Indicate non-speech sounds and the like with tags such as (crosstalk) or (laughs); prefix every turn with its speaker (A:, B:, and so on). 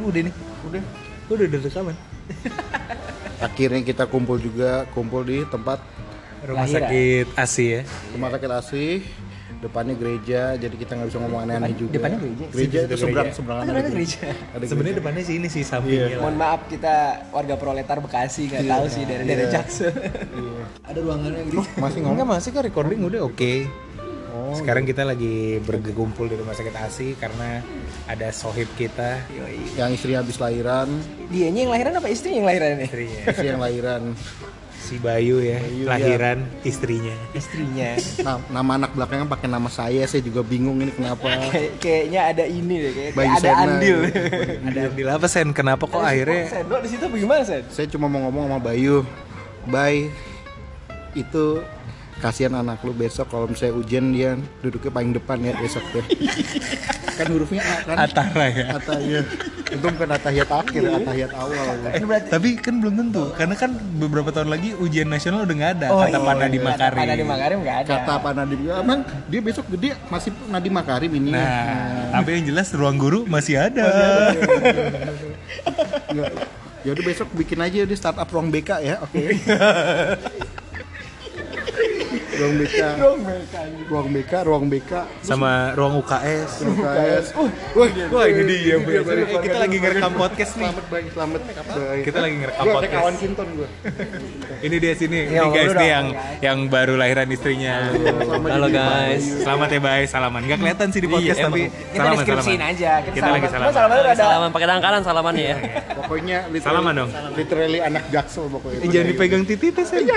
A: udah nih udah udah udah rekaman
B: Akhirnya kita kumpul juga, kumpul di tempat
A: rumah
C: Lahiran.
A: sakit ASI ya
B: rumah sakit asih depannya gereja jadi kita nggak bisa ngomong aneh-aneh juga
C: depannya gereja?
B: gereja
A: Situ-situ
B: itu
A: gereja. Iya.
B: seberang seberang
C: Oh, depannya gereja.
B: Ada
A: sebenarnya depannya sih ini sih sampingnya lah
C: Mohon maaf kita warga proletar Bekasi nggak
A: Iya.
C: tahu sih dari dari Jaksel. Ada ruangannya gitu.
B: masih ngomong Oh,
A: enggak masih kok recording udah oke sekarang kita lagi berkumpul di rumah sakit ASI karena ada sohib kita
C: Yoi.
B: yang istri habis lahiran
C: Dianya yang lahiran apa istrinya yang lahiran nih?
A: istrinya
B: istri yang lahiran
A: si Bayu ya
B: Bayu,
A: lahiran istrinya
C: Istrinya.
B: nah, nama anak belakangnya pakai nama saya saya juga bingung ini kenapa
C: Kayak- kayaknya ada ini deh, kayak,
B: Bayu
C: kayak ada
B: Sena. gitu.
C: andil.
A: ada andil apa Iya, sen kenapa kok akhirnya
C: Sen, lo di situ bagaimana Sen?
B: saya cuma mau ngomong sama Bayu Bay itu kasihan anak lu besok kalau misalnya ujian dia duduknya paling depan ya besok deh kan hurufnya A kan
A: Atara ya
B: Atahiyat itu bukan atahiyat akhir, atahiyat awal.
C: Ini berarti
A: tapi kan belum tentu karena kan beberapa tahun lagi ujian nasional udah nggak ada kata
C: iya,
A: Pak Nadiem
C: kata
A: Makarim.
C: Pak Nadiem Makarim nggak ada.
B: Kata Pak Nadiem, emang dia besok gede masih Nadiem Makarim ini.
A: Nah, tapi yang jelas ruang guru masih ada.
B: Nggak. Yaudah Iya. Ya besok bikin aja di startup ruang BK ya, oke.
A: (laughs)
B: ruang BK,
C: dong mereka.
B: ruang BK, ruang BK,
A: Sama ruang UKS.
B: ruang KS.
A: "Uh, Wah, ini dia.
B: Iya, baru
A: Eh, kita lagi ngerekam podcast nih.
B: Selamat baik, selamat.
A: Kita lagi ngerekam
B: Gue
A: podcast.
B: kawan Kinton gue.
A: Ini dia sini.
C: Ya,
A: Ini guys
C: udah
A: nih
C: dong,
A: yang yang baru lahiran istrinya.
C: Halo guys.
A: Selamat ya, Bay. Salaman. Gak kelihatan sih di podcast
D: Iya,
A: tapi
C: Kita
A: salaman
C: deskripsiin
A: salaman.
C: aja.
A: Kita lagi
C: Cuma
A: salaman.
C: salaman ada
D: Salaman pakai tangan kanan salamannya ya.
B: Pokoknya literally,
A: Salaman dong.
B: Literally anak jaksel pokoknya. Iya.
A: Eh, jangan dipegang titi tes ya.